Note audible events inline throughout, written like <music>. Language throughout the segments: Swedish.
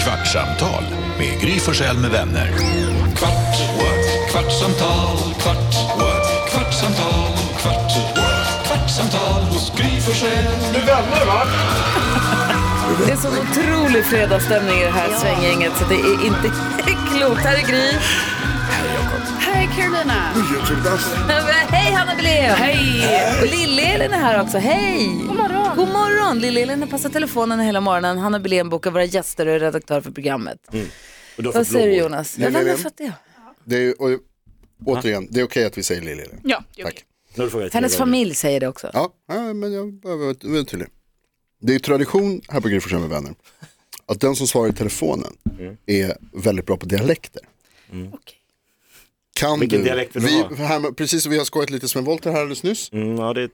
Kvartsamtal med Gry Forssell med vänner. Kvart, what? kvartsamtal, kvart, what? kvartsamtal, kvart, what? kvartsamtal hos Gry Forssell med vänner. Va? Det är sån otrolig fredagsstämning i det här svänggänget så det är inte <laughs> klokt. Här är Gry. Hej Carolina! Hej Hanna Belén! Hej! Och Lill-Elin är här också. Hej! God morgon! God morgon! Lill-Elin har passat telefonen hela morgonen. Hanna Belén bokar våra gäster och är redaktör för programmet. Vad säger Mm. du Jonas? Jag vet Lill-Elin? inte för att det. Det är, ju- och, återigen, det är okej att vi säger Lili. Ja, det är Tack. okej. Nu frågar jag till Hennes dig. familj säger det också. Ja, ja, men jag behöver vara vara tydlig. Det är ju tradition här på Gry Forssell med vänner att den som svarar i telefonen Mm. är väldigt bra på dialekter. Okej. Kan Vilken du, dialekt vill du vi, ha? här, med- Precis, vi har skojat lite Sven Wollter här alldeles nyss. Mm, ja, det,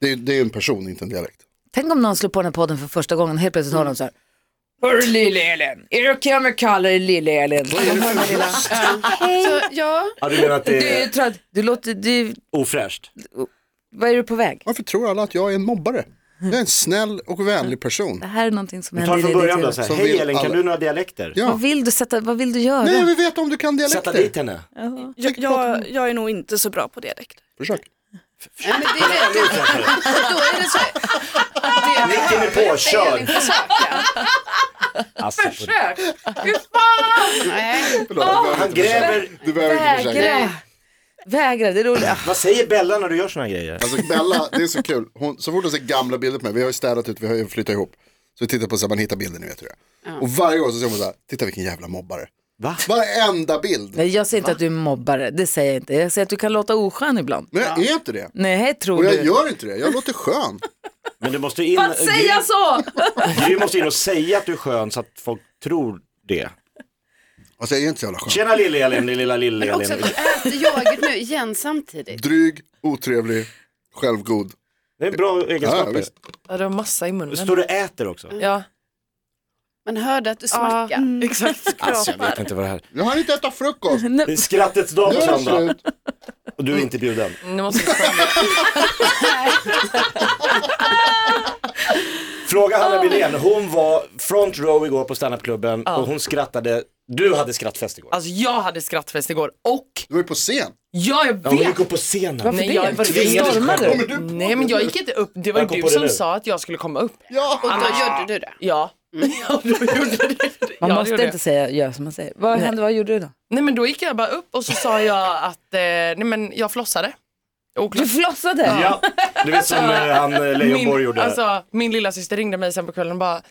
Det, är- det är ju en person, inte en dialekt. Tänk om någon slår på den här podden för första gången och helt plötsligt hör de så här. Hörru Lill-Elin, är det okej om jag kallar dig Lill-Elin? Så, ja, ja, du menar att Du, det är är ju trött. du låter, du, ofräscht? vad är du på väg? Varför tror alla att jag är en mobbare? Jag är en snäll och vänlig person. Det här är någonting som händer Ta det i från ditt början då. huvud. Så här. Som Hej vill Elin, kan alla. du några dialekter? Ja. Vad vill du sätta, vad vill du göra? Nej, jag vill veta om du kan Sätta dit dialekter. henne. Jag, jag, jag är nog inte så bra på dialekter. Försök. men det är det. <laughs> Då är det så. Det Micken är påkörd. Alltså, på- Nej, Förlåt, han gräver. Du behöver inte försöka. Vägra. Vägra, det är roligt. Vad säger Bella när du gör såna här grejer? Alltså Bella, det är så kul. Hon, så fort hon ser gamla bilder på mig, vi har ju städat ut, vi har ju flyttat ihop. Så vi tittar på så här, man hittar bilder, ni vet hur det är. Och varje gång så ser hon så här, titta vilken jävla mobbare. Va? Varenda bild. Nej, jag säger inte att du är mobbare, det säger jag inte. Jag säger att du kan låta oskön ibland. Men jag är inte det. Nej, tror Och jag du. gör inte det, jag låter skön. Men du måste ju in... Att säga så! Gry- Gry måste in och säga att du är skön så att folk tror det. Alltså jag är inte så jävla skön. Tjena Lill-Elin, din lilla också Lill-Elin. att du äter yoghurt nu igen samtidigt. Dryg, otrevlig, självgod. Det är en bra Ja, egenskaper. visst. Ja, det var massa i munnen. Står du och äter också? Ja, Man hörde att du smackade. Mm. exakt. Alltså jag vet inte vad det här Jag har inte ätit frukost. Det är. Skrattets dag på Nu är det söndag slut. och du är inte bjuden. Nu måste vi stanna. Fråga Ah. Hanna Billén, hon var front row igår på standupklubben och hon skrattade, du hade skrattfest igår. <laughs> Alltså jag hade skrattfest igår och Du var ju på scen. jag, jag Ja, hon gick vet. upp på scenen. Nej, jag var Tvingades Stormade själv. du? Nej men jag gick inte upp, det var Jag kom ju på du det som nu. sa att jag skulle komma upp. Ja. Och då gjorde du det. Ja. <laughs> Ja, då gjorde jag det. Ja, Man det måste gjorde jag. inte säga, gör som man säger. Vad hände, vad gjorde du då? Nej men då gick jag bara upp och så sa jag att, eh, nej men jag flossade. Du flossade! Ja, du vet som eh, han eh, Leijonborg Min, gjorde. alltså, min lilla syster ringde mig sen på kvällen och bara,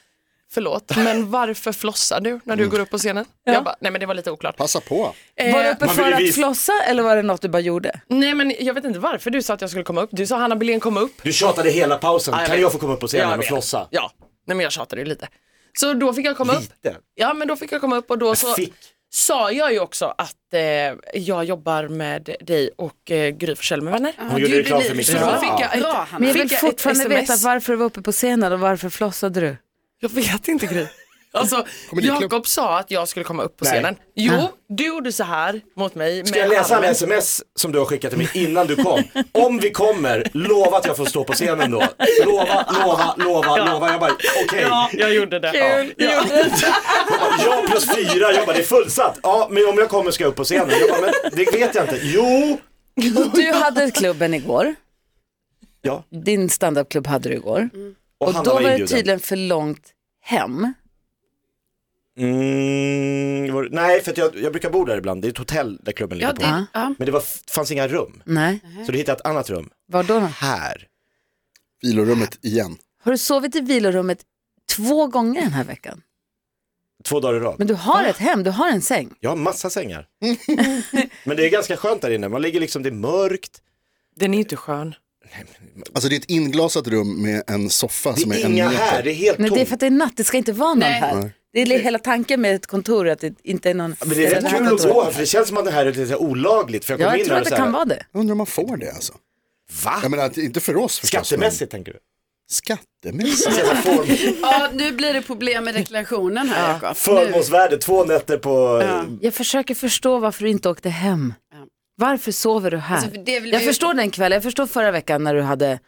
förlåt men varför flossar du när du Mm. går upp på scenen? Jag bara, nej men det var lite oklart. Passa på. Eh, Var du uppe Man för vill att visa- flossa eller var det något du bara gjorde? Nej men jag vet inte varför du sa att jag skulle komma upp. Du sa Hanna Belén komma upp. Du tjatade hela pausen, Ja, jag kan vet. jag få komma upp på Jag scenen och vet. flossa? Ja, nej men jag tjatade ju lite. Så då fick jag komma upp. Lite? Ja men då fick jag komma upp och då så Fick. sa jag ju också att eh, jag jobbar med dig och eh, Gry Forssell med vänner. Hon gjorde reklam för Så Micke då Bra. fick jag, Bra, ett, Hanna. Men jag vill Fick jag ett fortfarande veta sms? varför du var uppe på scenen och varför flossade du? jag vet inte Gry. <laughs> Alltså, Kommer din klubb? Jakob sa att jag skulle komma upp på Nej. scenen. Jo, du gjorde så här mot mig. Ska jag läsa alla sms som du har skickat till mig innan du kom? Om vi kommer, lova att jag får stå på scenen då. Lova, lova, lova, lova. Jag bara, okej. Ja, jag gjorde det. Kul! Ja. Jag bara, Jag plus fyra, jag bara, det är fullsatt. Ja, men om jag kommer ska jag upp på scenen. Jag bara, men det vet jag inte. Jo. Och du hade klubben igår, Ja, din standupklubb hade du igår. och, Och Hanna då var var det inbjuden. tydligen för långt hem. Mm, var, nej, för att jag, jag brukar bo där ibland. Det är ett hotell där klubben ligger Ja, på. det, ja. Men det var, fanns inga rum. Nej, Så du hittade ett annat rum. var då? då? Här. Vilorummet igen. Har du sovit i vilorummet två gånger den här veckan? Två dagar i rad. Men du har ett hem, du har en säng. Jag har massa sängar. men det är ganska skönt där inne. Man ligger liksom, det är mörkt. Den är ju inte skön. Alltså det är ett inglasat rum med en soffa Det som är är en inga här, meter. det är helt Nej, tomt. det är för att det är natt, det ska inte vara någon Nej. här. Det är hela tanken med ett kontor, att det inte är någon... Men det är rätt kul att gå här, för det känns som att det här är lite så här olagligt. För jag kom Ja, jag in tror här att och så det här, kan vara det. Jag undrar om man får det alltså. Jag Va? menar, att- inte för oss förstås. men- Skattemässigt tänker du? <laughs> Skattemässigt. Så här form- ja, nu blir det problem med deklarationen här Jakob. Nu. Förmånsvärde, två nätter på... Ja. Jag försöker förstå varför du inte åkte hem. Varför sover du här? Alltså, för det vill jag vi- förstår den kvällen, jag förstår förra veckan när du hade,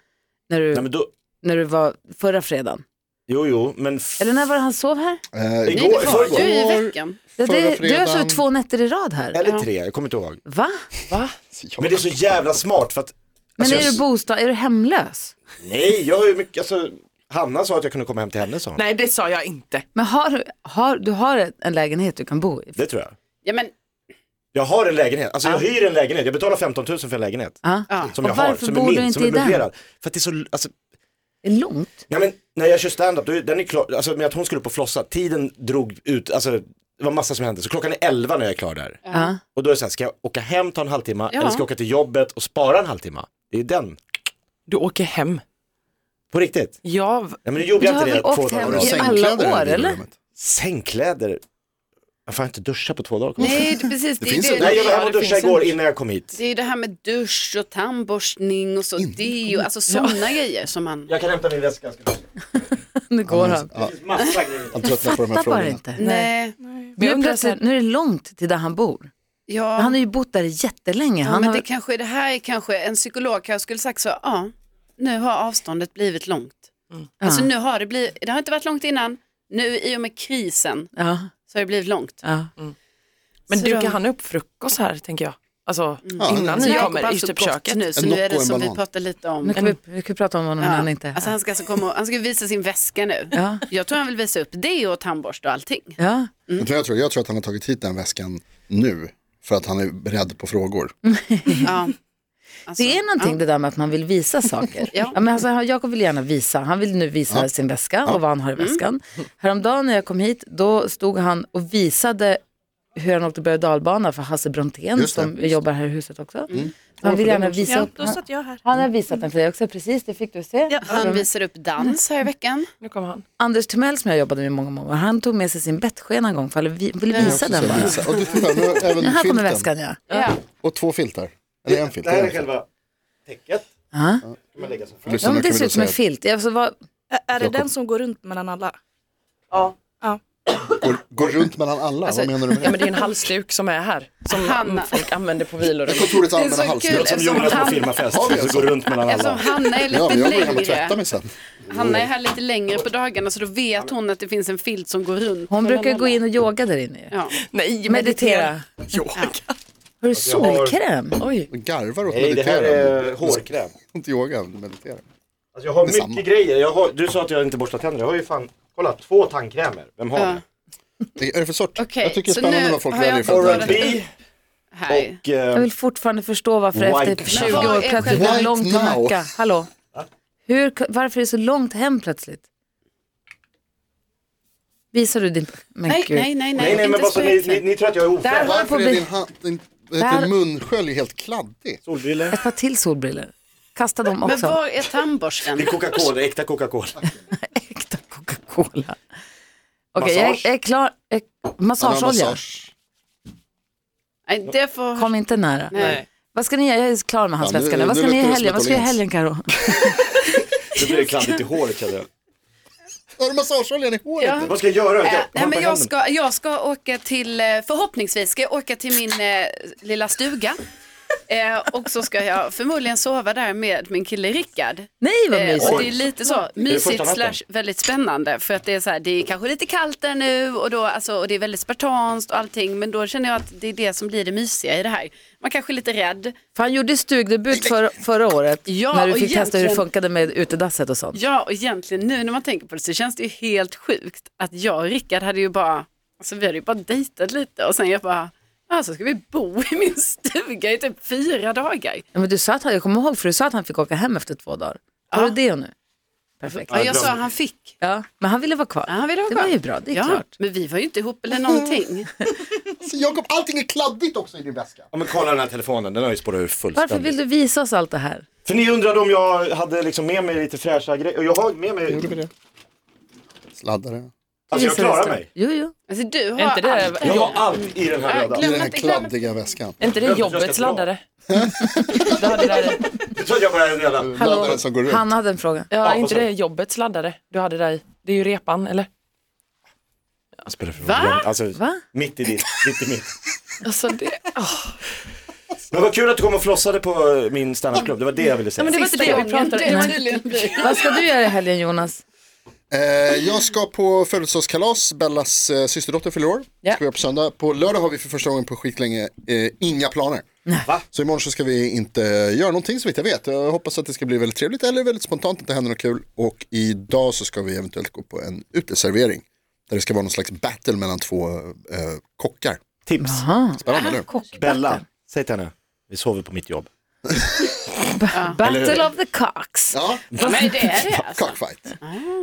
när du, Nej, men då, när du var förra fredagen. Jo, jo, men f- Eller när var det han sov här? Eh, Igår, igår, i var ju förrgår. förrgår. i veckan. Ja, Förra det, du har fredagen. sovit två nätter i rad här. eller tre, jag kommer inte ihåg. Va? Men det är så jävla smart för att, Men Alltså, är jag- du bostad, är du hemlös? nej, jag har ju mycket, alltså, Hanna sa att jag kunde komma hem till henne sa hon. Nej, det sa jag inte. Men har, du- har, du har ett- en lägenhet du kan bo i? Det tror jag. Ja, men, Jag har en lägenhet, alltså jag hyr en lägenhet, jag betalar 15 000 för en lägenhet. Ja. ja. Som Och jag har, varför som bor är du min, inte som i är den? möblerad. För att det är så, alltså, Det är <laughs> långt. nej men när jag kör standup, då är- den är klar, alltså med att hon skulle på Flossa, tiden drog ut, alltså det var massa som hände, så klockan är 11 när jag är klar där. Ja. Och då är det så här, ska jag åka hem, ta en halvtimme, Ja. eller ska jag åka till jobbet och spara en halvtimme? Det är den, Du åker hem. på riktigt. Ja, v- Nej men nu gjorde Du jag har inte det väl åkt två hem dagar i Har du rad. i sängkläder alla i år, det eller? rummet? Sängkläder, jag får inte duscha på två dagar. Nej, det, precis. Det, Det är finns ju en- det, Nej jag var hemma Ja, och det duschade finns igår inte. innan jag kom hit. det är ju det här med dusch och tandborstning och så. Det är ju alltså sådana grejer som man... Jag kan hämta min väska ganska snart. Nu går han. Det finns massa grejer. Han tröttnar på de här Fattar bara frågorna. inte. Nej, men jag Nu, undrar så här, plötsligt, nu är det långt till där han bor. ja. Han har ju bott där jättelänge. ja Han men har, det, kanske, det här är kanske, en psykolog kanske skulle sagt så, ja, nu har avståndet blivit långt. Alltså Mm. Ja. nu har det blivit, det har inte varit långt innan, nu i och med krisen ja, så har det blivit långt. ja. men Så dukar de- han upp frukost här tänker jag? Alltså Mm. Ja, innan men- ni Jakob har kommer i alltså typ gått köket. Nu, så En nu är Nocco det och en som vi banan. pratade lite Nu om. kan vi, vi kan prata om honom när han inte är här. Alltså han ska alltså komma och, han ska visa sin väska nu. Ja. Jag tror han vill visa upp det och tandborste och allting. Ja. Vet du vad Jag tror, jag tror att han har tagit hit den väskan nu för att han är beredd på frågor. <laughs> Ja. Alltså, Det är någonting det där med att man vill visa saker. <laughs> Ja. men alltså, han- Jakob vill gärna visa. Han vill nu visa sin väska och vad han Mm. har i väskan. Häromdagen när jag kom hit, då stod han och visade hur han åkte berg och dalbana för Hasse Brontén Just det. Mm. som jobbar här i huset också. Han vill gärna visa Ja, upp. då satt jag här. Han har visat den för dig också, precis det fick du se. Han visar upp dans här i veckan. Nu kommer han. Anders Timell som jag jobbade med i många, många år, han tog med sig sin bettskena en gång för han ville ville visa den bara. Visa. Och du tittar, nu har även Här kommer filten. väskan ja. Ja. Och två filtar. Eller en filt. Det här en är filt. själva täcket. Ja. Kan man lägga så här. För ja lyssnarna men det kan vi ser då ut som en säga filt. Jag, alltså, vad, Ä- Är det den som går runt mellan alla? att Går, går runt mellan alla, Alltså, vad menar du med <laughs> Ja det? men det är en halsduk som är här. Som Hanna. folk använder på vilor. Kontorets är så allmänna hals. kul. Som Jonas på firmafest, Har vi en så sån? går runt mellan Eftersom alla. alltså, Hanna är Ja, lite men jag går hem och tvättar längre. mig sen. Hanna är här lite längre på dagarna så då vet hon att det finns en filt som går runt. hon brukar gå in och yoga där inne ju. Ja. Nej, Meditera. Har du solkräm? Oj. Garvar åt Nej, det här mediterande. är hårkräm. Inte yoga, meditera. Alltså jag har mycket Detsamma. grejer. Jag har, du sa att jag inte borstar tänder. Jag har ju fan, kolla, två tandkrämer. Vem har Ja. det? Det är det för sort? Okej, jag tycker det så är spännande nu vad folk har jag väljer för Oral borrat- tänder. B Här. och... eh, Jag vill fortfarande förstå varför White efter 20 now. år plötsligt det är White långt till now. Nacka. Hallå? Hur, varför är det så långt hem plötsligt? Visar du din... Men Nej, gud. nej, nej, Nej, nej, nej, men inte bara så ni, ni, spriten. ni tror att jag är Där ofräsch. har- Varför På är bi- din, hand, din, vad Det heter här- det, munskölj helt kladdig? Solbrillor. Ett par till solbriller. Kasta dem Men också. var är tandborsten? Det är Coca-Cola, äkta Coca-Cola. Äkta Coca-Cola. Okej, jag, Massage. jag är klar. Jag, massageolja. Massage. Nej, det får... Kom inte nära. Nej. Vad ska ni göra? Jag är klar med hans Ja, nu- väska nu. Vad nu ska ni luktar göra i det som helgen? ett Vad ska jag göra i Åhléns. helgen, Karo? <laughs> Det blir kladdigt i håret känner jag. Har du massageoljan i håret? Ja. Vad ska jag Äh, göra? Eh, Jag nej, men jag, handen. ska, jag ska åka till, eh, förhoppningsvis ska jag åka till min eh, <laughs> lilla stuga. Eh, och så ska jag förmodligen sova där med min kille Rickard. Nej, vad Eh, mysigt. och det är lite så mysigt första natten? slash väldigt spännande för att det är så här, det är kanske lite kallt där nu och, då, alltså, och det är väldigt spartanskt och allting men då känner jag att det är det som blir det mysiga i det här. Man kanske är lite rädd. För han gjorde stugdebut för, förra året Ja, när du och fick testa hur det egentligen- funkade med utedasset och sånt. Ja och egentligen nu när man tänker på det så känns det ju helt sjukt att jag och Rickard hade ju bara, alltså vi hade ju bara dejtat lite och sen jag bara, ja så ska vi bo i min stuga i typ fyra dagar. Ja, men du sa att han, jag kommer ihåg för du sa att han fick åka hem efter två dagar. Har du det nu? Perfekt. Ja, jag sa han fick. Ja, men han ville vara kvar. Ja, han ville vara det kvar. var ju bra, det är ja, klart. Men vi var ju inte ihop <laughs> eller någonting. Alltså, Jakob, allting är kladdigt också i din väska. Ja men kolla den här telefonen, den har ju spårat ur fullständigt. Varför vill du visa oss allt det här? För ni undrade om jag hade liksom med mig lite fräscha grejer. Och jag har med mig... Sladdare. Alltså jag Visa oss klarar det. mig. Jo, jo. Alltså du har Är inte det, allt. Jag har allt i den här Ja, röda. I glöm- den här inte glömma- kladdiga väskan. är inte det jobbets <laughs> laddare? det hade där, i. Du tror att jag bara är en jävla... Laddaren som går runt. Hanna hade en fråga. ja, är inte det jobbets laddare du hade där i. Det är ju repan, eller? Spelar för Va? roll. Alltså, Va? mitt i ditt, mitt i mitt. Alltså det... Men vad kul att du kom och flossade på eh, min standupklubb, det var det jag ville säga. <laughs> men det var inte det vi pratade om. Vad ska du göra i helgen Jonas? Eh, jag ska på födelsedagskalas, Bellas eh, systerdotter fyller år. Ja. Ska vi göra på söndag. På lördag har vi för första gången på skitlänge eh, inga planer. Va? Så imorgon så ska vi inte göra någonting som inte jag vet. Jag hoppas att det ska bli väldigt trevligt eller väldigt spontant, att det händer något kul. Och idag så ska vi eventuellt gå på en uteservering. Där det ska vara någon slags battle mellan två eh, kockar. Tips. Spännande, eller hur? Bella, säg till henne. Vi sover på mitt jobb. Battle of the cocks. Ja, Men det är <laughs> det alltså. cockfight.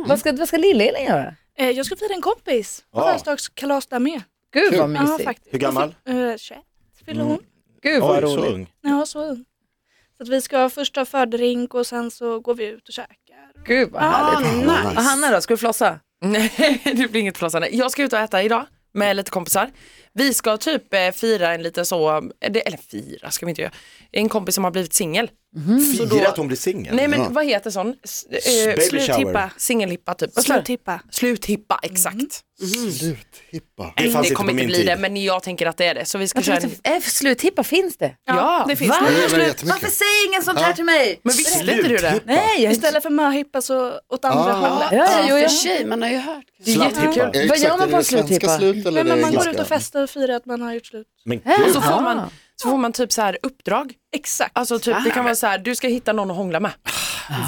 Vad ska, vad ska Lill-Elin göra? Eh, jag ska fira en kompis. Ja. Ja. Födelsedagskalas där med. Gud vad Ja, mysigt. faktiskt. Hur gammal? Eh, 21 fyller hon. Gud vad Oj, så roligt. ung. Ja, så ung. Så att vi ska ha första fördrink och sen så går vi ut och käkar. Gud vad Ah, härligt. nice. Och Hanna då, ska du flossa? Nej, <laughs> det blir inget förlossande. Jag ska ut och äta idag med lite kompisar. Vi ska typ eh, fira en liten så, eh, det- eller fira ska vi inte göra. En kompis som har blivit singel. Fira att hon blir singel. Mm, Nej men vad heter sån? S- eh, Baby shower. Sluthippa, singelhippa typ. Vad sa du? Mm. Sluthippa. Sluthippa, exakt. Sluthippa. det fanns det inte kommer på inte min bli tid. det men jag tänker att det är det. Så vi ska köra en... F- Sluthippa, finns det? Ja, Det finns Va? Det det. är väl Varför jättemycket. säger ingen sånt här till mig? Men visste inte du det? Nej, jag Istället för möhippa så åt andra hållet. Ja, jo, Ja, ja. för sig, man har ju hört. Slatthippa. Är det Vad Eh, exakt- gör man är på det en sluthippa? svenska slut eller Nej, det men är man går ut engelska? och festar och firar att man har gjort slut. Men Äh? Och gud. så får, man, så får man typ så här uppdrag. Exakt. Alltså typ, det kan vara så här, du ska hitta någon att hångla med.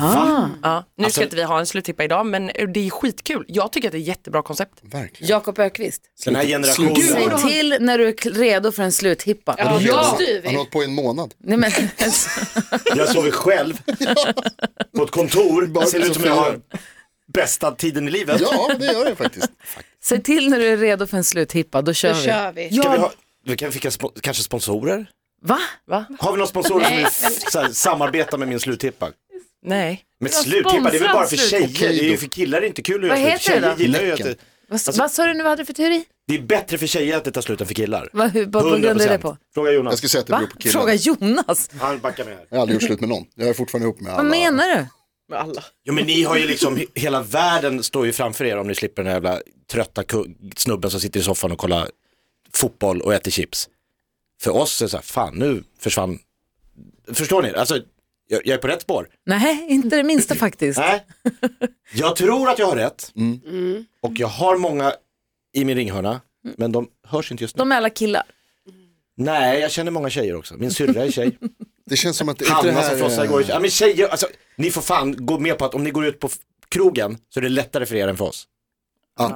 Ja, nu ska inte vi ha en sluttippa idag men det är skitkul. Jag tycker att det är ett jättebra koncept. Verkligen. Jakob Ökvist. Den här Slut. generationen. Säg till när du är k- redo för en sluthippa. Ja, Han då styr har vi. hållit på i en månad. Nej, men, <laughs> Jag sover själv på ett kontor. Bara ser ut som jag har bästa tiden i livet. Ja, det gör jag faktiskt. säg till när du är redo för en sluthippa, då kör Då vi. kör vi. Ska vi ha, vi kan fick kanske sponsorer? Va? Har vi några sponsorer som vill f- så här, samarbeta med min sluttippa? Nej. Men Någon sluttippa, det är väl bara för sponsrad tjejer? Okej då. Det är ju för killar är det inte kul att Vad göra heter slut. det Tjejer då? gillar ju att Läcken. det, Vad, vad sa du nu, vad hade du för teori? det är bättre för tjejer att det tar slut än för killar. Vad, hur, vad, vad grundar du det på? Fråga Jag Jonas. skulle säga att det Va? beror på Fråga killarna. Jonas. Han backar med här. Jag har aldrig gjort slut med någon. Jag är fortfarande ihop med alla. Vad menar du? Jo men ni har ju liksom, he- hela världen står ju framför er om ni slipper den här jävla trötta ku- snubben som sitter i soffan och kollar fotboll och äter chips. För oss är det så här, fan nu försvann, förstår ni? Alltså, jag, jag är på rätt spår. Nej, inte det minsta faktiskt. Nej, <laughs> jag tror att jag har rätt. Mm. Mm. Och jag har många i min ringhörna, men de hörs inte just nu. De är alla killar. Nej, jag känner många tjejer också. Min syrra är <laughs> tjej. Det känns som att det inte det Hanna som här... frossar eh, igår. Ja, men tjejer, alltså, ni får fan gå med på att om ni går ut på f- krogen så är det lättare för er än för oss. Ah,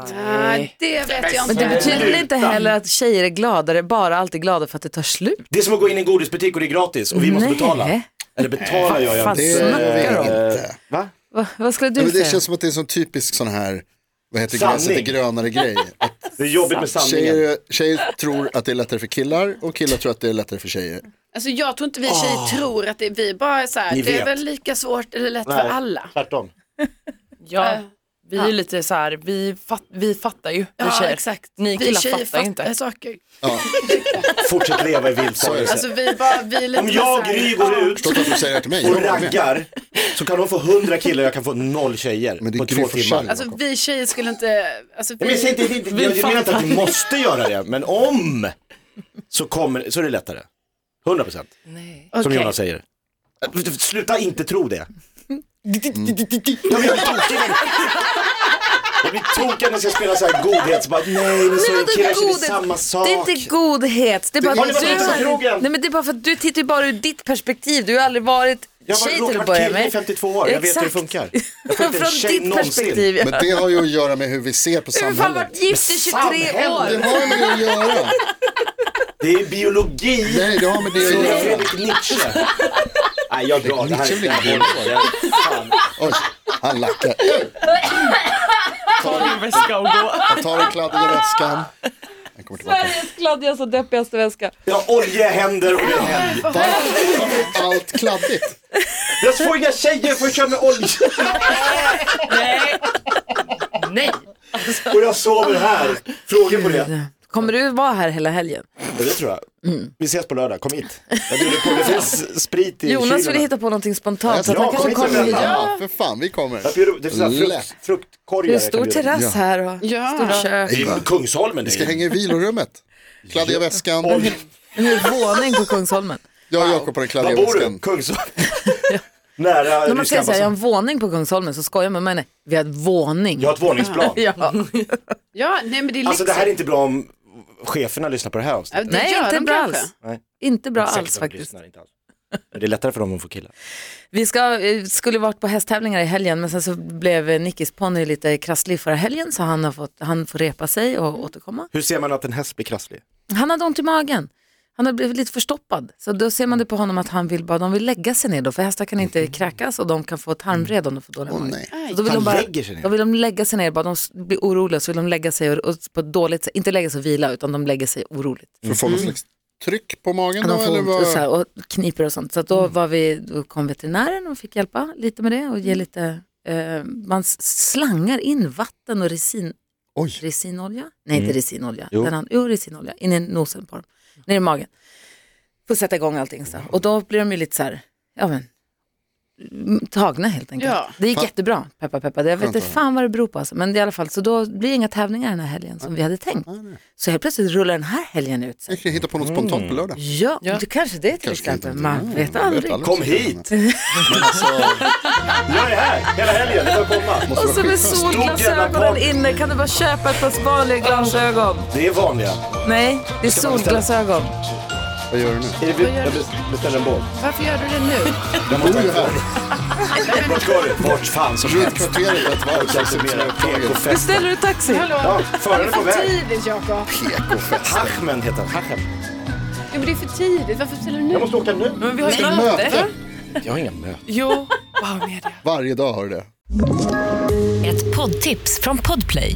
det vet jag Men det inte. betyder väl inte heller att tjejer är gladare, bara alltid glada för att det tar slut? Det är som att gå in i en godisbutik och det är gratis och vi måste Nej. betala. Eller betalar gör jag Fan, inte. Det Snackar är de? inte. Va? Va, vad skulle Nej, du men det säga? känns som att det är en sån typisk sån här, vad heter Sanning. gräset är grönare grej. Att Det är jobbigt med sanningen. tjejer, tjejer tror att det är lättare för killar och killar tror att det är lättare för tjejer. Alltså, jag tror inte vi tjejer tror att det, vi bara är så här, Ah. Ni det vet. är väl lika svårt eller lätt för Nej, alla. Eh, Tvärtom. Äh, Ja, vi är ju lite så här, vi, fat, vi fattar ju. Vi Ja, tjejer. exakt. Ni vi killar tjejer fattar ju inte. saker. Fortsätt leva i vildfarelse. Alltså, vi är bara, vi är lite Om jag så här- Gry går ut Förstår du varför du säger det här till mig? och Jag håller med. raggar så kan de få 100 killar och jag kan få noll tjejer Men det är på Gry två Forssell. timmar. Nej, Alltså vi tjejer skulle inte, alltså, vi, men jag, säger inte, det är inte, jag menar inte att vi måste göra det, men om så, kommer, så är det lättare. 100 procent, som Okej. Jonas säger. Äh, Sluta inte tro det. <laughs> Jag blir tokig. Jag blir tokig när jag ska spela så här godhet, så bara nej men så Nej, är vadå Alltså, killar kör godhet? det samma sak. Det är inte godhet. Det är bara Har ni att varit ute på du... krogen? Nej, men det är bara för att du tittar ju bara ur ditt perspektiv. Du har ju aldrig varit Jag har tjej råkat till vara att börja kille i med. 52 år, jag vet hur det Exakt. funkar. Jag får inte en Från tjej ditt någonsin. perspektiv. Men det har ju att göra med hur vi ser på Du har fan samhället. varit gift i 23 samhället. år. Det har med det att göra. Det är biologi. Nej, det har med det Så att är göra. Fredrik Nietzsche. Nej jag drar, det här är Nietzsche det här blir är- det här är- fan. Oj, han lackar. Ta din väska och gå. Han tar den kladdiga väskan. Han kommer tillbaka. Sveriges kladdigaste och deppigaste väska. Jag har oljiga händer och det är helg. Allt kladdigt. Jag får inga tjejer för att köra med olja. Nej. Nej. Och jag sover här. Frågor på det? Kommer du vara här hela helgen? Ja, det tror jag. Mm. Vi ses på lördag, kom hit. Jag bjuder på, det finns sprit i Jonas vill kylen. hitta på någonting spontant så att Ja, han kanske kom hit kommer och hit. vänta. Ja, för fan, vi kommer. Jag bjuder, det finns sådana här frukt, Lätt. fruktkorgar. Det är en jag stor kan bjuda på. terrass här och Ja. stort kök. Det är Kungsholmen det Vi ska är ju. hänga i vilorummet. Kladdiga väskan. Oj, En hel våning på Kungsholmen. Jag och Jakob på den Var kladdiga bor du? väskan. Kungsholmen. Nära alltså. När man säger ryska så här, jag har ambassaden. en våning på Kungsholmen så skojar man med henne. Vi har en våning. Jag har ett våningsplan. Ja. Ja, nej men det är Alltså det lyxigt. här är inte bra om cheferna lyssnar på det här Ja, avsnittet. det Nej, gör inte de bra kanske. alls. Nej. Inte bra Säkert alls att de faktiskt. lyssnar inte alls. Men det är lättare för dem att få killar. Vi ska, eh, skulle varit på hästtävlingar i helgen men sen så blev eh, Nickis ponny lite krasslig förra helgen så han, har fått, han får repa sig och återkomma. Hur ser man att en häst blir krasslig? Han hade ont i magen. Han har blivit lite förstoppad. Så då ser man det på honom att han vill bara, de vill lägga sig ner då för hästar kan inte kräkas och de kan få tarmvred om de får dålig Åh, mage. nej. Så då vill de, Han bara, lägger sig ner. då vill de lägga sig ner, bara de s- blir oroliga så vill de lägga sig och, och på ett dåligt sätt, inte lägga sig och vila utan de lägger sig oroligt. För att få någon slags tryck på magen Ja, då? De får Eller ont och, så vad? Mm. här, och kniper och sånt. Så att då, var vi, då kom veterinären och fick hjälpa lite med det och Mm. ge lite, eh, man s- slangar in vatten och resin, Oj. resinolja, nej Mm. inte resinolja, Jo. jo. Den andra- jo resinolja, in i nosen på dem, ner i magen. Får sätta igång allting så här. Och då blir de ju lite så här, ja men, mm, tagna helt enkelt. Ja. Det gick Fan. jättebra, peppa peppa. Jag vet Skönt inte att fan vad det beror på alltså. Men i alla fall, så då blir det inga tävlingar den här helgen som vi hade tänkt. Så helt plötsligt rullar den här helgen ut sig. Jag kan hitta på något spontant på lördag. Ja, Ja. Du, kanske det till Kanske exempel. inte. Man Mm, vet jag aldrig. Kom vad som kan hit! hända. Men alltså, Jag är här hela helgen, du får komma. Och så med Stor jävla solglasögonen barn. inne, kan du bara köpa ett par vanliga glasögon? Det är vanliga. Nej, det är solglasögon. vad gör du nu? Är det, jag beställer en båt. Varför gör du det nu? Jag Du måste är ju ha en här. båt. Vart ska du? Vart fan som Runt helst. kvarteret i ett varv. Jag så kan att inte det mera är frågor. PK-fest. Ställer du taxi? Hallå? Ja, det föraren är är på för väg. tidigt Jakob. Hachmen heter han. Hachem. Ja, men det är för tidigt. Varför ställer du nu? Jag måste åka nu. Men vi har ju Nej. möte. Möte. Jag har inga möten. Jo, wow, media. Varje dag har du det. Ett poddtips från Podplay.